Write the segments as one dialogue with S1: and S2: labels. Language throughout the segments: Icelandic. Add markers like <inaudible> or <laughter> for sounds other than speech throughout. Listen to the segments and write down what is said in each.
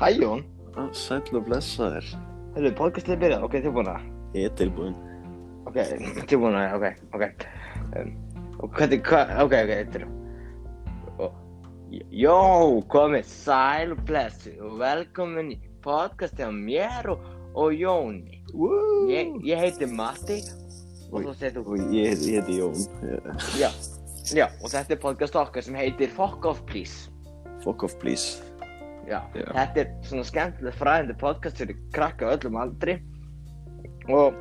S1: Hæ Jón,
S2: Ah, Sæll og blessaður.
S1: hefur podcastið byrjað, ok, tilbúna
S2: Ég er tilbúinn.
S1: Ok, <laughs> tilbúna, ok, ok um, Og hvernig, hvað, ok, ok, þetta er Jó, komið sæl og blessu og velkomin í podcastið á mér og, og Jóni
S2: Woo!
S1: Ég, ég heiti Matti og þú segir
S2: Og
S1: þú
S2: ég, ég heiti Jón. Ég-
S1: Já, já, og þetta er podcast okkar sem heitir Fuck Off Please
S2: Fuck off, please.
S1: Já,
S2: Já.
S1: þetta er svona skemmtileg fræðandi podcast fyrir krakka á öllum aldri og,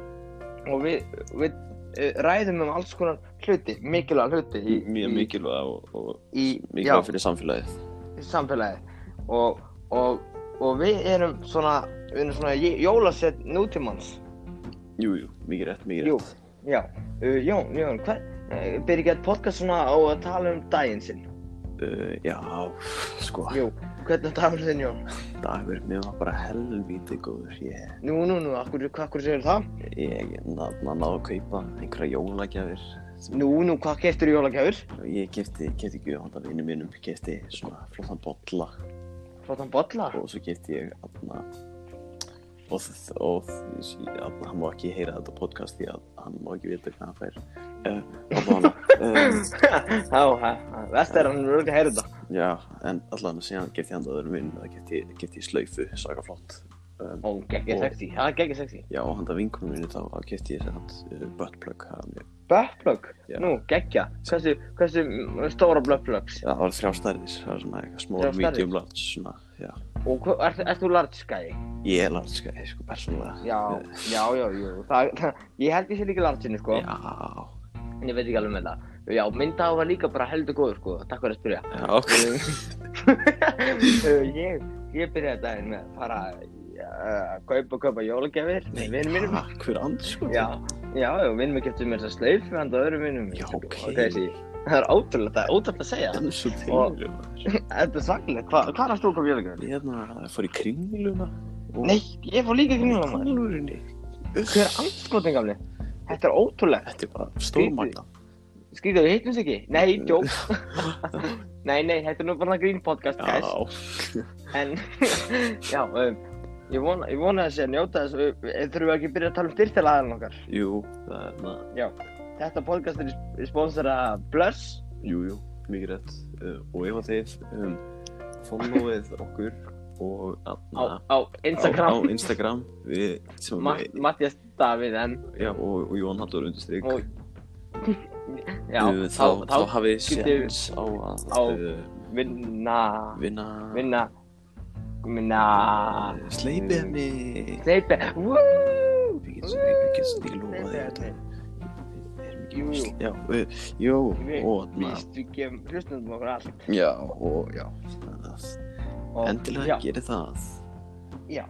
S1: og við, við eh, ræðum um alls konar hluti, mikilvæg hluti í,
S2: Mjög
S1: í-
S2: mikilvæg og, og
S1: í,
S2: mikilvæg fyrir samfélagið.
S1: já, í samfélagi og, og, og við erum svona, við erum svona j- jólasett nútímans
S2: Jú, jú, mikið rétt, mikið rétt.
S1: Jú, já, uh, Jón, Jón, hver, uh, byrja ekki að podcast svona á að tala um daginn sinn
S2: Uh, já, sko,
S1: Jú, hvernig dagur þinn Jón?
S2: dagur mér var bara helvítið góður. Ég,
S1: Nú, nú, nú, akkur, akkur segir það?
S2: ég na- na- náði að kaupa einhverja jólagjafir.
S1: Nú, nú, hvað keftur í jólagjafur?
S2: Ég kefti, kefti gjöfandan vinnum mínum, kefti svona flottan bolla
S1: Flottan bolla?
S2: og svo kefti ég aðna og, þ- og aðna, hann má ekki heyra þetta podcast því að hann má ekki vita hvað hann fær uh, allan, um,
S1: Já, vest er hann örgulega að heyra þetta.
S2: já, en allan síðan kefti hann öðrum minn það kefti, kefti slaufu, saga flott um,
S1: Ó, geggja
S2: Og-
S1: sexy, það er geggja sexy.
S2: já, og handa vinkunum minni þá kefti ég hann uh, buttplug það var mjög-
S1: Buttplug,
S2: Já.
S1: nú, geggja. Hversu, hversu m- stóra buttplugs?
S2: það var þrjá stærðis, það var svona eitthvað small,
S1: Þrjár stærðir?
S2: medium, large svona, já,
S1: Og hva- ert er þú large skæði?
S2: ég er large sko, sko persónulega
S1: Já,
S2: Eh,
S1: já, já, já, það, <laughs> það, ég held ég sé líka large inni, sko.
S2: já,
S1: En ég veit ekki alveg með það. Já, minn dag var líka bara heldur góður, sko, takk fyrir að spyrja.
S2: já, ok
S1: Uh, <laughs> ég, ég byrjaði daginn með að fara að uh, kaupa, kaupa jólagjafir með vinnum mínum.
S2: ha, hver anskotin?
S1: Já, já, já, vinnum minn getur mér þess að sleif með handa öðrum vinnum.
S2: Já, ok.
S1: Það er ótrúlega, það er ótrúlega að segja.
S2: enn svo
S1: Og-
S2: teglu maður
S1: Þetta er svakalegt. Hva, hvað er að stúka björgum?
S2: Ég hérna fór í kringluna og
S1: Nei, ég fór líka kringla maður.
S2: kringlunni.
S1: Hver er anskotin gamli? Þetta er ótrúlegt.
S2: Þetta er bara stórmagna.
S1: Skrítið, við hittum sig ekki. Nei, djók.
S2: <laughs>
S1: nei, nei, þetta er nú bara grín podcast, guys.
S2: Já.
S1: En, <laughs> já, um, ég vona, ég vona þessi að njóta þess. uh, Þurfum við ekki að byrja að tala um styrtilega aðeins okkar?
S2: Jú, það er hérna, maður.
S1: Já. Þetta podcast er, er sponsor af Blurs.
S2: Jú, jú, mikið rétt. Uh, og ef að þið um, followið okkur og
S1: Á,
S2: aðna
S1: á Instagram.
S2: Á, á Instagram. Við, sem
S1: Ma
S2: við,
S1: Mattias Davíð M
S2: já, og, og Jón Halldór undirstrykk.
S1: og já,
S2: uh, þá,
S1: þá,
S2: þá hafið þið
S1: getið-
S2: séns á að
S1: á-
S2: uh,
S1: vinna
S2: vinna,
S1: vinna vinna
S2: uh, sleipið mig.
S1: steipi
S2: Við getum, við getum, ég lofa þér þetta. erum ekki
S1: Jú, jú.
S2: veist- Já, við, jú,
S1: Við-
S2: og þarna,
S1: víst við gefum hlustnum okkur allt
S2: já, og já, þannig að
S1: og,
S2: endilega
S1: já,
S2: gerir það.
S1: já,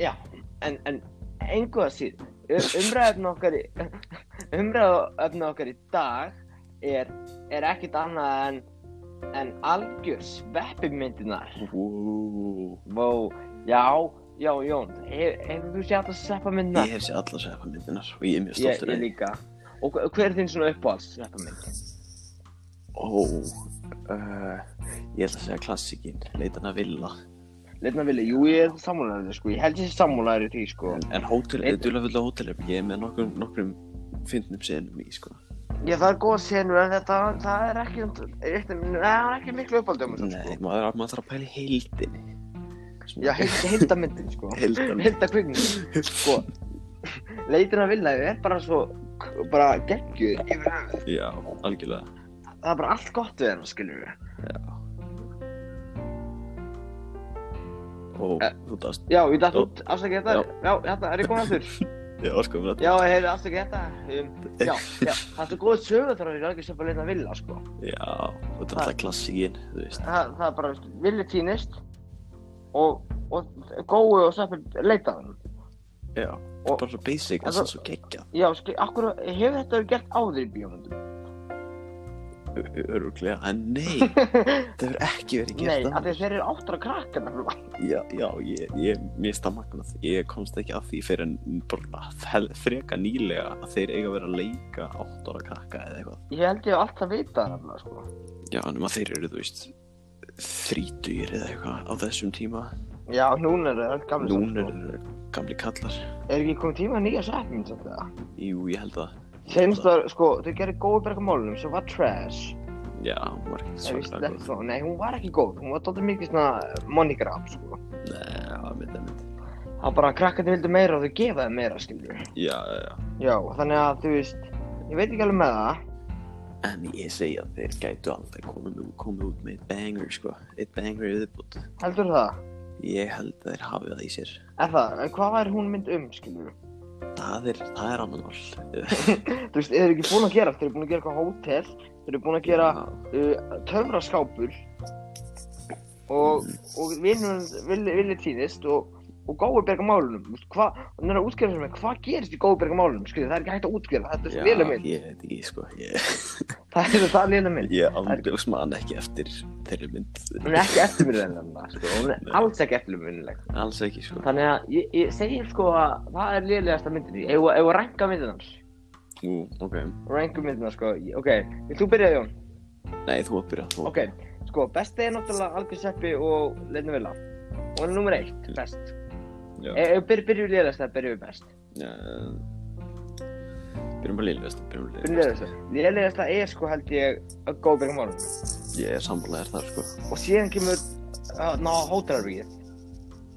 S1: já, en, en engu að síð umræðan okkar umræðan okkar í dag er, er ekkit annað en en algjör sveppimyndinar
S2: Wow.
S1: Vó, já, já, Jón, hef- hefur þú séð að sveppa myndina?
S2: Ég hef sér allar sefa myndinar og ég er
S1: ég,
S2: mjög stoltur
S1: ég
S2: af því.
S1: líka. Og hver- hver er þinn svona uppáhalds sveppa mynd?
S2: Ó, uh, ég ætla að segja klassíkin, leitan að villa.
S1: Leitna vilja, jú, ég er sammálaður, sko, ég held ég sé sammálaður í því, sko.
S2: En, en hótel,
S1: Leit-
S2: duðla fulla hótelherbergi, ég er með nokkrum, nokkrum fyndnum senum í, sko.
S1: Ég það er góð senur, en þetta, það er ekki, eitt, neða, það er ekki miklu uppáhaldum, sko.
S2: Nei, maður, maður þarf að pæla í heildinni.
S1: Já, heilda myndin, sko.
S2: heildan.
S1: Heilda kvikmyndin, sko. Leitina vilja er bara svo, bara geggjuð yfir höfuð.
S2: Já, algjörlega.
S1: Það er bara allt gott við hennar, skilur við.
S2: Ó,
S1: Eh,
S2: þú dast.
S1: Já, ég datt
S2: Já.
S1: út, afsakið þetta, já, þetta, er ég komið aftur?
S2: Já, sko, við
S1: Já, heyrðu, afsakið þetta. Um, já, já, það er góð sögur þar að ég er ekki sem bara leita vilja, sko.
S2: Já, þetta er alltaf klassíkin, þú veist.
S1: Það, það er bara, vilja týnist og, og gói og sveppir leita hann.
S2: Já,
S1: Og-
S2: bara svo basic,
S1: En
S2: það er
S1: það-
S2: svo geggjað.
S1: Já, skil, akkur, hefur þetta verið gert áður í bíómyndum?
S2: Ö- Öruglega, en
S1: <laughs>
S2: nei, það hefur ekki verið
S1: Nei,
S2: gert
S1: af því
S2: annað.
S1: að þeir eru áttra krakkar nefnilega.
S2: Já, já, ég, ég mista magnað. Ég komst ekki að því fyrir en bara fel- freka nýlega að þeir eiga að vera að leika 8 ára krakka eða eitthvað. um
S1: Ég held ég hef alltaf vitað það nefnilega, sko.
S2: Já, nema þeir eru, þú veist, þrítugir eða eitthvað á þessum tíma.
S1: Já, núna er það gamla
S2: Núna eru gamli kallar.
S1: sko. Er ekki komið tíma að nýja sætmynd samt það?
S2: Jú, ég held að,
S1: Senst var, sko, þau gerði góð berg á málunum sem var trash.
S2: já, hún var
S1: Ef
S2: ekki
S1: ég
S2: svaklega
S1: sleppt
S2: góð.
S1: þá, nei, hún var ekki góð. Hún var dóttir mikið svona moneygram, sko.
S2: Nei, já, mynd, mynd.
S1: Það var bara að krakkandi vildu meira og þau gefa þeim meira, skilur.
S2: Já, já, já.
S1: Já, þannig að, þú veist, ég veit ekki alveg með það.
S2: En ég segi að þeir gætu aldrei komið, komið út með eitt banger, sko. Eitt banger í viðbútt.
S1: Heldur það?
S2: Ég held að þeir hafi það í sér.
S1: Er það, en hvað væri hún mynd um, skilur?
S2: Það er, það er annan all.
S1: Þú veist, þeir eru ekki búin að gera, allt, þeir eru búin að gera eitthvað hótel, þeir eru búin að
S2: <laughs>
S1: gera uh, töfraskápur og, og vinnum villi, villi týðist og, og góðberg á málunum. Þú veist, Hvað, og hann er að útskjöra fyrir mig, hvað gerist í góðberg á málunum, skilur? Það er ekki hægt að útskjöra, þetta er svo lélega mynd. <laughs>
S2: Ég veit ekki, sko. Ég,
S1: Það er það lélega mynd.
S2: ég andjóks man ekki eftir þeirri mynd.
S1: Hún er ekki eftirminnilega, sko, hún er
S2: Nei.
S1: alls ekki eftirminnilega.
S2: Alls ekki, sko.
S1: Þannig að ég, ég segir sko að það er lélegasta myndin í, ef að ranka myndin hans.
S2: Ú, ok.
S1: Ranka myndin hans, sko, Ég- ok, vilt þú byrja Jón?
S2: Nei, þú átt byrja. þú átt
S1: Ok, sko, besti er náttúrulega Algjör Seppi og Leinu Vila. Og hann er nummer eitt, best.
S2: Já.
S1: Ef ef við byrjum byrju lélegast, það byrjum við best.
S2: Já, Eh, Byrjum bara liðlust, byrjum bara
S1: Byrjum
S2: liðlust.
S1: lélegast. Lélegast það er sko held ég að góða byrjum morgun.
S2: Ég er samfélagar þar, sko.
S1: Og síðan kemur að ná hótelherbyggið.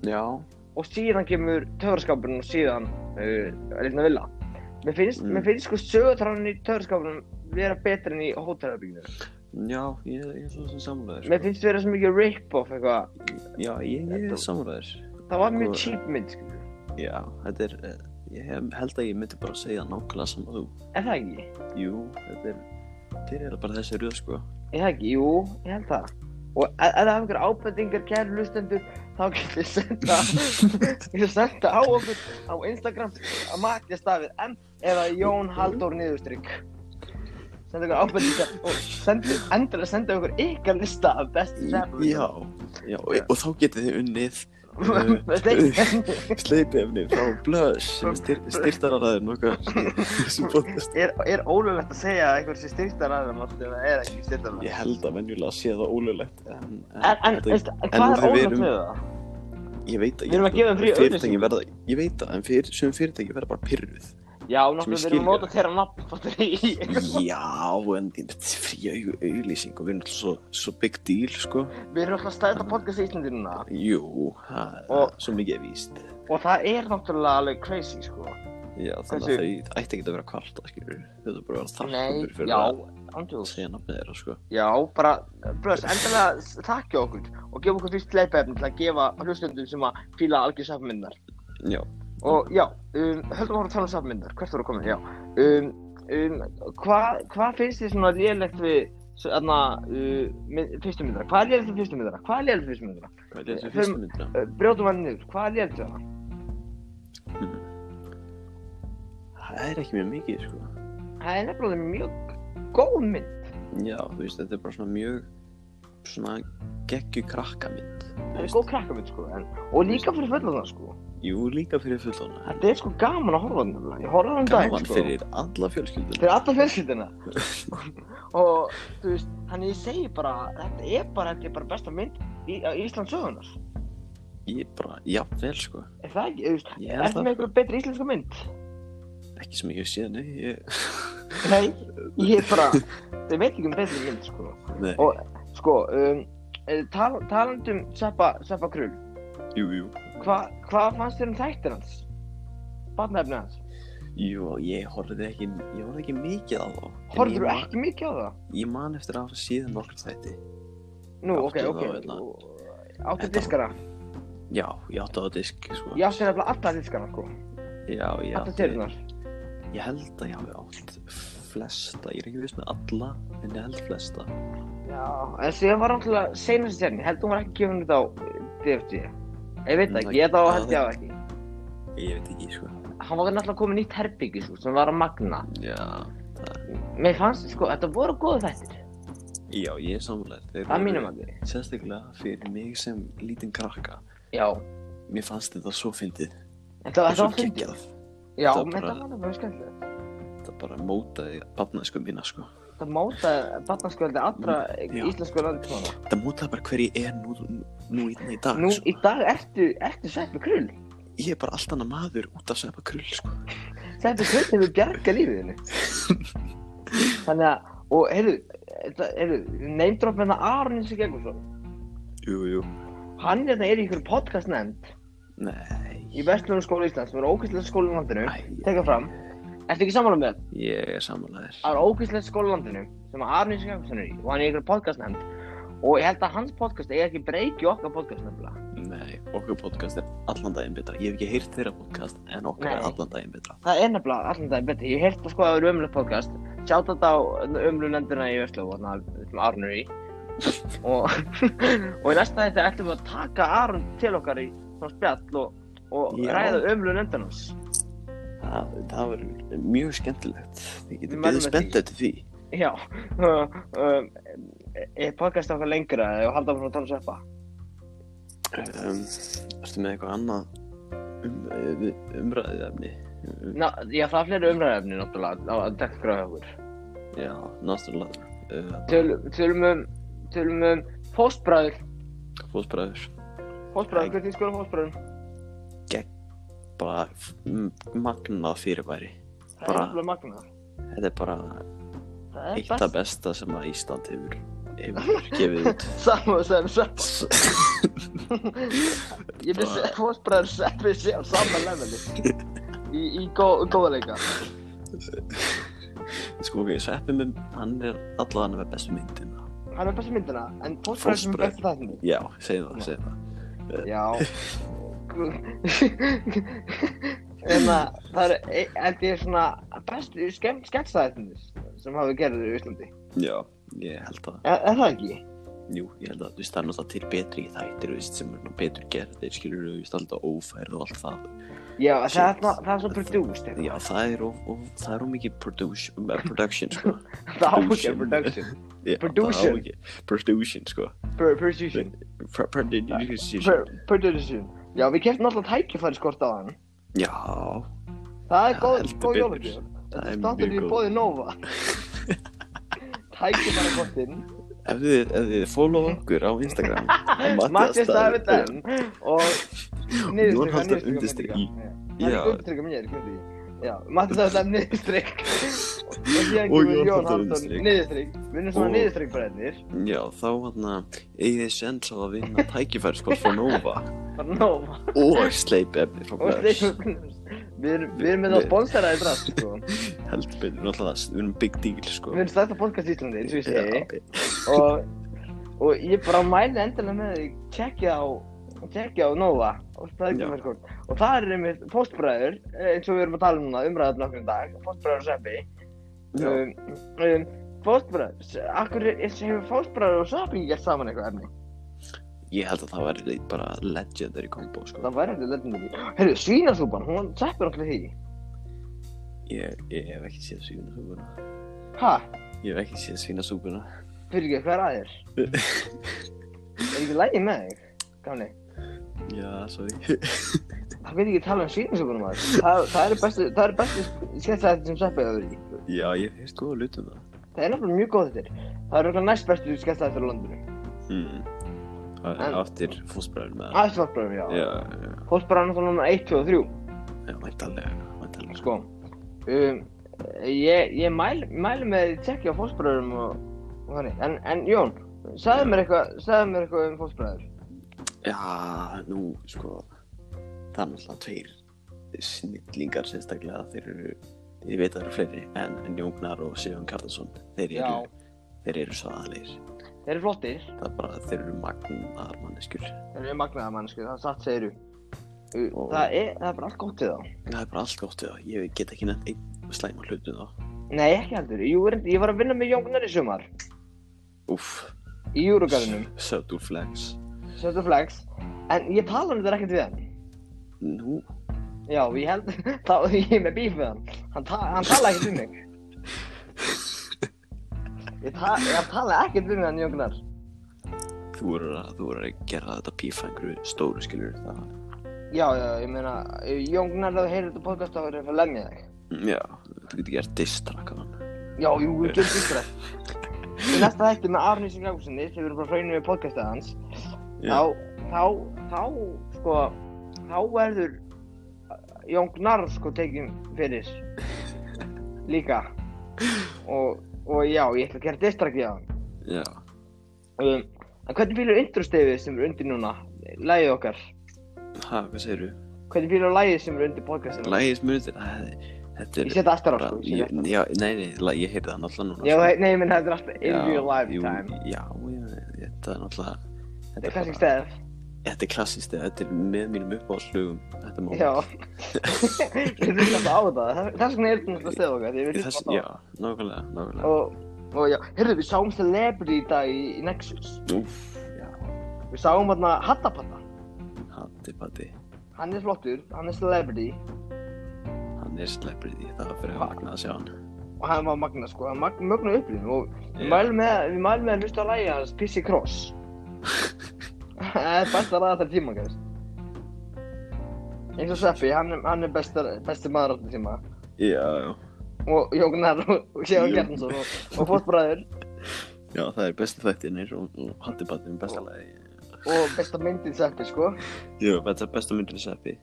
S2: Já.
S1: Og síðan kemur töfraskapurinn og síðan uh, Leinu Vila. Mér finnst,
S2: Mm.
S1: mér finnst sko sögutránin í töfraskapurinn vera betri enn í hótelherbygginu.
S2: Já, ég, ég er svo sem samfélagar,
S1: Mér finnst vera svo mikið rip-off eitthvað.
S2: Já, ég, ég
S1: Þetta-
S2: er samfélagar.
S1: Það var mjög
S2: Og-
S1: cheap mynd, sko.
S2: Já, þetta er, eh, ég hef- held að ég myndi bara segja nákvæmlega saman þú.
S1: Er það ekki?
S2: Jú, þetta er, þeir eru bara þessi röð, sko.
S1: Ég það ekki, jú, ég held það. Og e- ef ef það hafa einhver ábendingar, kæri hlustendur, þá getur þið senda,
S2: <laughs>
S1: getur senda á okkur á Instagram að matja stafið M eða Jón Halldór niðurstrykk. Senda okkur ábendingar og sendu, endilega senda okkur ykkar lista af bestu sefnum.
S2: Já, já, og, og þá getið þið unnið
S1: <laughs> Þetta er ekki,
S2: sleipefni frá Blush sem styr, styrtararæðin okkar sem podcast.
S1: er, er ólulegt að segja að einhver sé styrktar aðeins, náttúrulega, eða er ekki styrktar aðeins.
S2: Ég held að venjulega sé það ólöglegt. En,
S1: En, en,
S2: þetta-
S1: veistu, hvað
S2: út
S1: er
S2: við
S1: ólulegt
S2: erum-
S1: með það?
S2: Ég veit að
S1: Við erum að gefa þeim frí
S2: fyrirtæki
S1: auglýsingu.
S2: verða, ég veit að, en fyrir, sem fyrirtæki verða bara pyrruð.
S1: Já, náttúrulega, við
S2: skil
S1: erum að
S2: ekki.
S1: móta þeirra nafn, <laughs> fattur í.
S2: Já, en þetta er frí au, auglýsing og við erum alltaf svo, svo big deal, sko.
S1: Við erum alltaf stæðið að podcast í Íslandi núna
S2: Jú, það
S1: Og-
S2: er svo mikið er víst.
S1: og það er náttúrulega alveg crazy sko.
S2: Já, þannig
S1: Þessu-
S2: að þau ætti ekki að vera kvarta, skilur. Þau þurfa bara að vera
S1: Nei,
S2: þakkandur fyrir
S1: já,
S2: að
S1: andjós.
S2: segja nafnið þeirra, sko.
S1: Já, bara, blöðs, endilega þakki okkur og gefa okkur fyrst leipefni til að gefa hlustundum sem að fíla algjör safmyndar.
S2: Já,
S1: Og já, um, höldum ára að tala um safmyndar, hvert voru komin, já. Um, um, Hvað hva finnst þið svona lélegt við Þannig að uh, mynd, fyrstu myndra, hvað er lélegt við fyrstu myndra, hvað er lélegt við fyrstu myndra,
S2: hvað er
S1: Förum-
S2: þessi fyrstu myndina?
S1: uh, brjótum hann niður, hvað er lélegt við hana,
S2: Það er ekki mjög mikið, sko.
S1: það er nefnilega mjög góð mynd,
S2: Já, þú veist, þetta er bara svona mjög, svona geggju krakka mynd.
S1: það er góð krakkamynd sko, en, og líka fyrir fullorðna sko.
S2: Jú, líka fyrir fullóna.
S1: Þetta er sko gaman að horfa á hann, ég horfa á hann dag,
S2: Gaman
S1: sko.
S2: fyrir alla fjölskylduna.
S1: Fyrir alla
S2: <laughs>
S1: fjölskyldina. og, þú veist, þannig ég segi bara, þetta er bara, þetta er bara besta mynd í, á Íslands sögunar.
S2: Ég bara, jafnvel sko,
S1: Er það ekki, þú veist,
S2: Ég
S1: er
S2: held
S1: það
S2: það,
S1: með
S2: sko.
S1: einhver betri íslenska mynd?
S2: ekki sem ég hef séð, nei, ég... <laughs>
S1: Nei, ég er bara, þau veit ekki um betri mynd, sko.
S2: Nei,
S1: Og- Sko, um, eh, tal, talandum Seppa, Seppa Krull,
S2: jú, jú.
S1: hvað hva fannst þér um þættir hans? Batnefni hans?
S2: Jú, ég horfði ekki, ég horfði ekki mikið á þá. En ég
S1: Horfður þú
S2: man-
S1: ekki mikið á það?
S2: Ég man eftir að hafa síðan nokkur þætti.
S1: Nú, ok,
S2: Áttu
S1: ok.
S2: þá hérna.
S1: Áttu
S2: Þetta-
S1: diskara?
S2: Já, ég átti á disk, sko.
S1: Ég átti nefnilega alla diskana, sko.
S2: Já, ég
S1: Alla tegurinnar.
S2: Ég held að ég hafi átt flesta, ég er ekki viss með alla, en ég held flesta.
S1: Já, en síðan var náttúrulega seinast sérni, held hún var ekki gefin út á eh, DFG. Ég veit það ekki, ég þá
S2: Já,
S1: held ég á ekki.
S2: Ég veit ekki, sko.
S1: Hann var náttúrulega komið nýtt herbyggi, sko, sem var að magna.
S2: Já,
S1: Mér fannst, sko, þetta voru góðu þættir,
S2: já, ég er samanlega.
S1: að mínum að því.
S2: Sérstaklega fyrir mig sem lítinn krakka.
S1: Já,
S2: Mér fannst þetta svo fyndið.
S1: þetta
S2: og
S1: var
S2: svo
S1: það fyndið.
S2: geggjað.
S1: Já,
S2: Þetta var
S1: menn
S2: bara-
S1: það var náttúrulega skemmtilegt.
S2: Það bara mótaði barnæsku mína, sko.
S1: þetta mótaði barnaskjöldi allra
S2: Já.
S1: íslensku landsmanna.
S2: Þetta mótaði bara hver ég er nú, nú, nú í, í dag
S1: Nú
S2: sko.
S1: í dag ertu, ertu Sveppi Krull.
S2: Ég er bara allt annað maður út af sepa krull sko.
S1: Sveppi Krull hefur bjargað lífið henni. Þannig að, og heyrðu, þetta- heyrðu, neymdróf með það Aron eins og Geggursson.
S2: Jú, jú
S1: Hann hérna er í ykkur podcast nefnd
S2: Nei
S1: í Vestlunum skóla Íslands, sem er ókvæmstilega skóla í landinu.
S2: Æ,
S1: Tekka fram. Ertu ekki sammála með það?
S2: Ég er samanlegaðir
S1: Það er ógæslega skólalandinu sem að Arnís Jakobsson er í og hann er í ykkur podcast nefnd og ég held að hans podcast er ekki breyki okkar podcast nefnilega.
S2: Nei, okkar podcast er allan daginn betra Ég hef ekki heyrt þeirra podcast en okkar
S1: Nei.
S2: er allan daginn betra
S1: Það er nefnilega allan daginn betri. Ég held að sko að það eru ömlega podcast. Sjáta þetta á ömlu nefndina í Vestló og sem Arnur
S2: <laughs>
S1: er í. og, <laughs> og í næsta þetta ætlum við að taka Arn til okkar í svona spjall og, og
S2: Já.
S1: ræða ömlu nefndina hans.
S2: Það, það verður mjög skemmtilegt Við
S1: Við
S2: getum
S1: mælum
S2: beðið
S1: með
S2: spennt
S1: því.
S2: eftir því
S1: Já, <laughs> um, er podcast okkar lengra eða halda frá að tala um sveppa?
S2: um, Ertu með eitthvað annað um, um, umræðið efni? Um,
S1: Ná, já, það er fleiri umræðefni náttúrulega á- að dekka gráða okkur.
S2: já, náttúrulega uh,
S1: Töl- tölum um, tölum um fóstbræður,
S2: Fóðsbræður
S1: fóstbræður,
S2: Æ.
S1: hvernig skoðum fóstbræður?
S2: Bara mm, magnað fyrirbæri
S1: Það er
S2: Bara-
S1: alveg magnað.
S2: Þetta er bara
S1: Það er
S2: eitt af besta sem að Ísland hefur, hefur gefið
S1: <laughs>
S2: út
S1: Saman sem sepp,
S2: S-
S1: ég vissi
S2: Bara-
S1: að fóstbræður seppi sé á sama leveli. Í, í gó, góðleika.
S2: Sko, ok, Sveppi minn, hann er allavega með bestu myndina
S1: Hann er með bestu myndina, en fóstbræður sem er
S2: Fóstbræður.
S1: bestu þættinni.
S2: Já, segðu það,
S1: Já.
S2: segðu það
S1: Já.
S2: <laughs>
S1: en að það er, e- held ég, svona bestu skemmtstæðinni sem hafi gerðið í Íslandi. E,
S2: Já, ég held að,
S1: Er, er það ekki?
S2: jú, ég held að, þú veist, það er náttúrulega til betri þættir, þú veist, sem er nú betur gerðir, skilur þú, veist, alltaf ófærð og allt það
S1: Já,
S2: Shit.
S1: það, það, það er svo produced. eitthvað.
S2: Já, það er of, of, það er of mikið production, eh, production
S1: <laughs>
S2: sko
S1: Það á ekki
S2: Production.
S1: að production.
S2: Já, það
S1: Production.
S2: á ekki, production, sko
S1: Per- Persuasion.
S2: Pro- Production
S1: Per- Production. Já, við keftum alltaf tækifæri skort á hann.
S2: Já,
S1: Það er
S2: Já,
S1: góð,
S2: heldur
S1: góð
S2: betur.
S1: jólagjöf.
S2: það
S1: Þetta
S2: er
S1: státtur
S2: mjög
S1: við
S2: góð
S1: bóði
S2: <laughs>
S1: Nova. tækifæri skortinn.
S2: Ef þið, ef þið follow okkur á
S1: <laughs>
S2: Instagram
S1: Mattias David Dan. Og
S2: Jón
S1: niðurstrykka,
S2: Halldór
S1: niðurstrykka
S2: undirstrikk
S1: myndinga.
S2: í.
S1: Það er
S2: Já.
S1: undirstrykka mér, hvernig ég. Já, Mattias David Dan niðurstrykk.
S2: <laughs>
S1: Og síðan
S2: Og
S1: kemur Jón
S2: Jón Halldór
S1: Halldór
S2: undirstrikk.
S1: niðurstrykk. Við erum svona hérna,
S2: Og-
S1: niðurstrykk brennir.
S2: Já, þá hann að eigið sens á að vinna tækifærskort frá Nova
S1: Bara Nova.
S2: <laughs> og sleip efni frá
S1: Og
S2: Blöðs
S1: við erum- við erum með það
S2: Við-
S1: sponseraði drast, sko.
S2: heldur betur, náttúrulega, við erum big deal sko
S1: Við erum stærsta podcast í Íslandi, eins og ég segi.
S2: Já,
S1: og, og ég bara mæli endilega með því tjekkja á tjekkja á Nova og
S2: Já.
S1: spæðgjumverkort og það er einmitt postbræður eins og við erum að tala um núna umræðum nokkur um dag postbræður og Seppi
S2: já.
S1: um, um, postbræður, s- akkur er- hefur postbræður og Seppi ekki gert saman eitthvað efni
S2: Ég held að það væri leit- bara legendary combo sko
S1: það væri heldur legendary heyrðu, svínasúpan, hún Seppi er alltaf í því
S2: ég, ég hef ekki séð svínasúpuna
S1: ha,
S2: Ég hef ekki séð svínasúpuna
S1: fyrir ekki, hvað er að
S2: <laughs>
S1: þér? er ekki lægi með þig? gamli
S2: Já, sorry <laughs>
S1: Það vil ekki tala um svínasökunum maður. Það, það eru bestu, það eru bestu sketsæðið sem Sveppi hefur verið í.
S2: Já, ég hef heist góða lutum það
S1: Það er náttúrulega mjög góð þetta. Það eru eitthvað næst bestu sketsæðið fyrir landinu.
S2: mm. Það
S1: En- Ah.
S2: er aftur fósbræður með
S1: Aðeins fólkbræðum, já.
S2: Já, já,
S1: Fólkbræðan er náttúrulega 1, 2 og 3,
S2: já, væntalega, væntalega
S1: sko. Um, ég ég mæl, mæli með því tjekki á fólkbræðum og, og þannig. En, en Jón, sagðu mér eitthvað, sagðu mér eitthvað um fólkbræður.
S2: Já, nú, sko, það er náttúrulega tveir snillingar sérstaklega, þeir eru, ég veit að það eru fleiri, en, en Jóngnar og Sigurðan Karlsson, þeir
S1: Já,
S2: eru, þeir eru svo aðleir,
S1: þeir eru flottir.
S2: það er bara, þeir eru magnar manneskjur,
S1: Þeir eru magnaða mannsku, það er satt segiru.
S2: Og-
S1: Það er, það er bara allt gott við þá.
S2: það er bara allt gott við það, ég get ekki nefnt einn slæma hlutu þá,
S1: Nei, ekki heldur. Jú, reyndar- ég var að vinna með Jóngnar í sumar.
S2: úff,
S1: Í Júrugarðinum.
S2: Sötul Flex,
S1: Sjötu flex En ég tala um þetta ekkert við hann
S2: nú,
S1: Já, ég held <laughs> Þá ég er með bíf við hann Hann, ta hann tala ekkert við mig Ég, ta ég tala ekkert við hann, Jóngnar
S2: þú verður að, þú verður að gera þetta pífa einhverju stóru skilur, það,
S1: Já, já, ég meina Jóngnar, ef þú heyrir þetta podcast þá er ég að lemja þig
S2: já, þú getur gert distrakan,
S1: Já, jú, við getum ykkar Í næsta þætti með Arnís í Glákusinni sem við erum bara hraunum við podcastið hans
S2: Já.
S1: þá, þá, þá, sko þá verður Jón Gnarr, sko, tekin fyrir líka og, og já, ég ætla að gera distraktið á hann
S2: Já.
S1: um, En hvernig fýlur introstefið sem er undir núna, lægið okkar
S2: Ha, hvað segirðu?
S1: Hvernig fýlur lægið sem er undir podcastinu?
S2: Lægis munið þetta, þetta
S1: Ég
S2: er...
S1: setja aftur á,
S2: bara-
S1: sko ég
S2: ég-
S1: set aftur á.
S2: Já, nei, nei, la- ég heyrði það náttúrulega núna.
S1: Já,
S2: sko.
S1: nei, menn þetta er alltaf in
S2: Já,
S1: real
S2: jú,
S1: lifetime
S2: Já, já, þetta er náttúrulega...
S1: Þetta er
S2: bara-
S1: kannski stæðið
S2: Þetta er klassist, þetta er með mínum uppáhaldslögum, þetta mál.
S1: Já, <laughs> ég þurfti alltaf á þetta, það- þess vegna er þetta náttúrulega stöð okkar, því við
S2: Þess,
S1: hlustum á
S2: já,
S1: það.
S2: nákvæmlega, nákvæmlega.
S1: Og, og já, heyrðu, við sáum Celebrity í dag í, í Nexus.
S2: Úf, já,
S1: Við sáum hérna Hattapatta,
S2: hatti patti,
S1: hann er flottur, hann er Celebrity
S2: hann er celebrity, það var fyrir
S1: Fuck.
S2: magna að sjá hann.
S1: og hann var magna, sko, hann mag, mögnu upplýðum og
S2: Já.
S1: við mælum með, við mælum með að hlusta á lægi hans, Pissy
S2: <laughs>
S1: Cross. Það er besta ræða þar tíma, gæðist. Eins og Sveppi, hann, er- hann er bestar, besti maður alltaf tíma.
S2: Já, já,
S1: Og Jóknar og, og Sjáðan
S2: Jú.
S1: Gjarnsson og, og Fótbræður.
S2: já, það er bestu þættinir og, og hatti patti er besta lagi.
S1: og besta myndin Sveppi sko <laughs>
S2: Jú, þetta er besta myndir í seppi.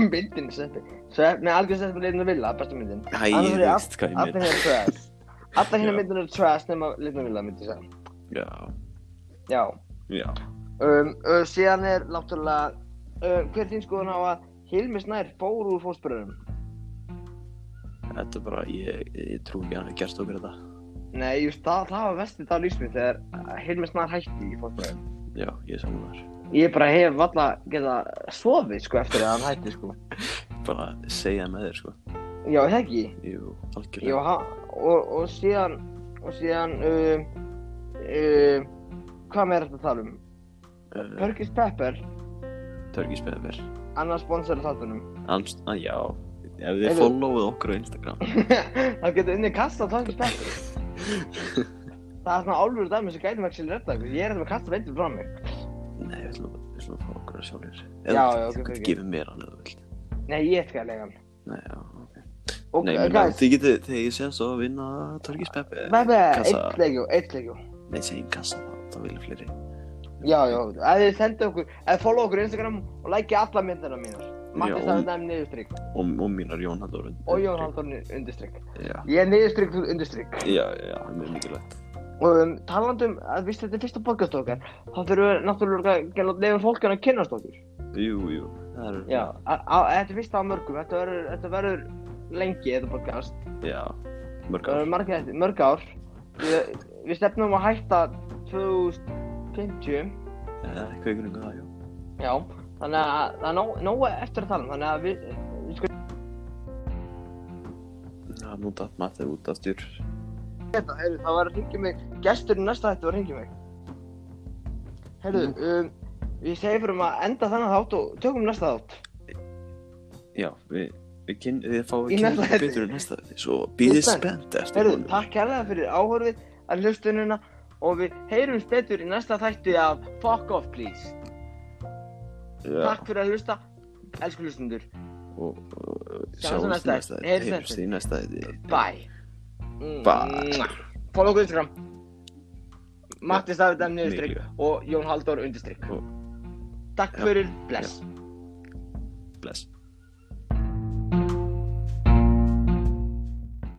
S1: myndin Sveppi Sveppi, nei algjör Sveppi leitin að vilja, besta myndin
S2: Æ,
S1: Annars
S2: ég
S1: er ég
S2: veist hvað ég
S1: allar
S2: mynd.
S1: hérna er trash allar hérna
S2: Já.
S1: myndin eru trash nema leitin að vilja myndi ég segja
S2: Já,
S1: já
S2: já.
S1: um, uh, síðan er náttúrulega uh, hver er þín skoðun á að Hilmi Snær fór úr fósbröðum
S2: Þetta er bara, ég, ég trú ekki að hann hafi gert okkur þetta.
S1: nei, just, það, það var vestið það lífsmið þegar uh, Hilmi Snær hætti í fósbröðum
S2: Já, ég er saman þar.
S1: ég bara hef valla geta sofið sko eftir að hann hætti sko
S2: Bara segja með þér, sko.
S1: já, það ekki
S2: Jú,
S1: Já,
S2: algjörlega.
S1: ha, og, og síðan, og síðan, uh, uh, hvað með þetta að tala um?
S2: Uh,
S1: Perkins Pepper,
S2: Törgis beðver.
S1: annar sponsor af þáttunum.
S2: Alls, að já. Ef
S1: Heyrðu.
S2: þið followið okkur á Instagram.
S1: <laughs> það getur unni kasta á Perkins Pepper. það er svona álfur dæmi sem gætum ekki að redda ykkur. Ég er þetta með að kasta veitur frá mig.
S2: Nei, við ætlum, við ætlum að fá okkur að sjálfur.
S1: Já,
S2: Eða
S1: já, ok,
S2: þú
S1: ok.
S2: getur gefið mér hann eða þú vilt.
S1: Nei, ég ætla ekki að lega hann.
S2: Nei, já, ok.
S1: Og
S2: Nei, menn,
S1: guys,
S2: þið getur, þegar ég segja svo að vinna Törgis Peppi.
S1: Pepper,
S2: kassa.
S1: eitt leikjú, eitt leikjú.
S2: Nei, segjum kassa þá, þá vilja fleiri.
S1: Já, já, ef þið sendu okkur, ef þið follow okkur á Instagram og like alla myndina mínar. Magnus
S2: og-
S1: David Dæmi niðurstrykk
S2: Og, og mínar Jón Halldór. undir-
S1: og Jón Halldór undirstrykk.
S2: Já,
S1: Ég er niðurstrykk, þú undirstrykk.
S2: já, já, það er mjög mikilvægt.
S1: Og um, talandum að víst þetta er fyrsta podcast okkar, þá þurfum við náttúrulega ekki að lefa fólkjana að kynnast okkur.
S2: Jú, jú, það er...
S1: Já. Á- á- Þetta er fyrsta á mörgum, þetta verður, þetta verður lengi þetta podcast,
S2: Já,
S1: það
S2: mörg ár.
S1: verður Eh, margir þetta, mörg ár. Við, við stefnum að hætta 2050,
S2: Eða Eh, eitthvað ykkur ykkur það, já.
S1: já, þannig að það er nóg, nóg eftir að tala um, þannig að við, við sko
S2: Já, nú datt maður þegar út aftur.
S1: þetta, heyrðu, það var að ringja mig, gesturinn næsta þetta var að ringja mig. Heyrðu, um, við segjum fyrir um að enda þannig þátt og tökum næsta þátt.
S2: Já, við, við, kyn, við fáum
S1: Í
S2: að
S1: næsta
S2: kynna okkur
S1: þætti.
S2: betur en næsta þetta. Svo býðið
S1: spennt.
S2: spennt eftir
S1: Herðu, takk kærlega fyrir áhorfið að hlustununa og við heyrumst betur í næsta þætti af Fuck Off Please.
S2: Já,
S1: Takk fyrir að hlusta, elsku hlustundur.
S2: og, og og
S1: Sjáumst í næsta
S2: sjáumst í næsta
S1: þætti.
S2: þetta.
S1: Heyrumst
S2: Heyrumst í næsta þetta.
S1: Bye. Mm,
S2: Bye.
S1: mwah. Follow okkur Instagram. Matti David M. Niðurstrykk
S2: líka.
S1: og Jón Halldór Undirstrykk.
S2: Og-
S1: Takk
S2: Já.
S1: fyrir, bless.
S2: Bless.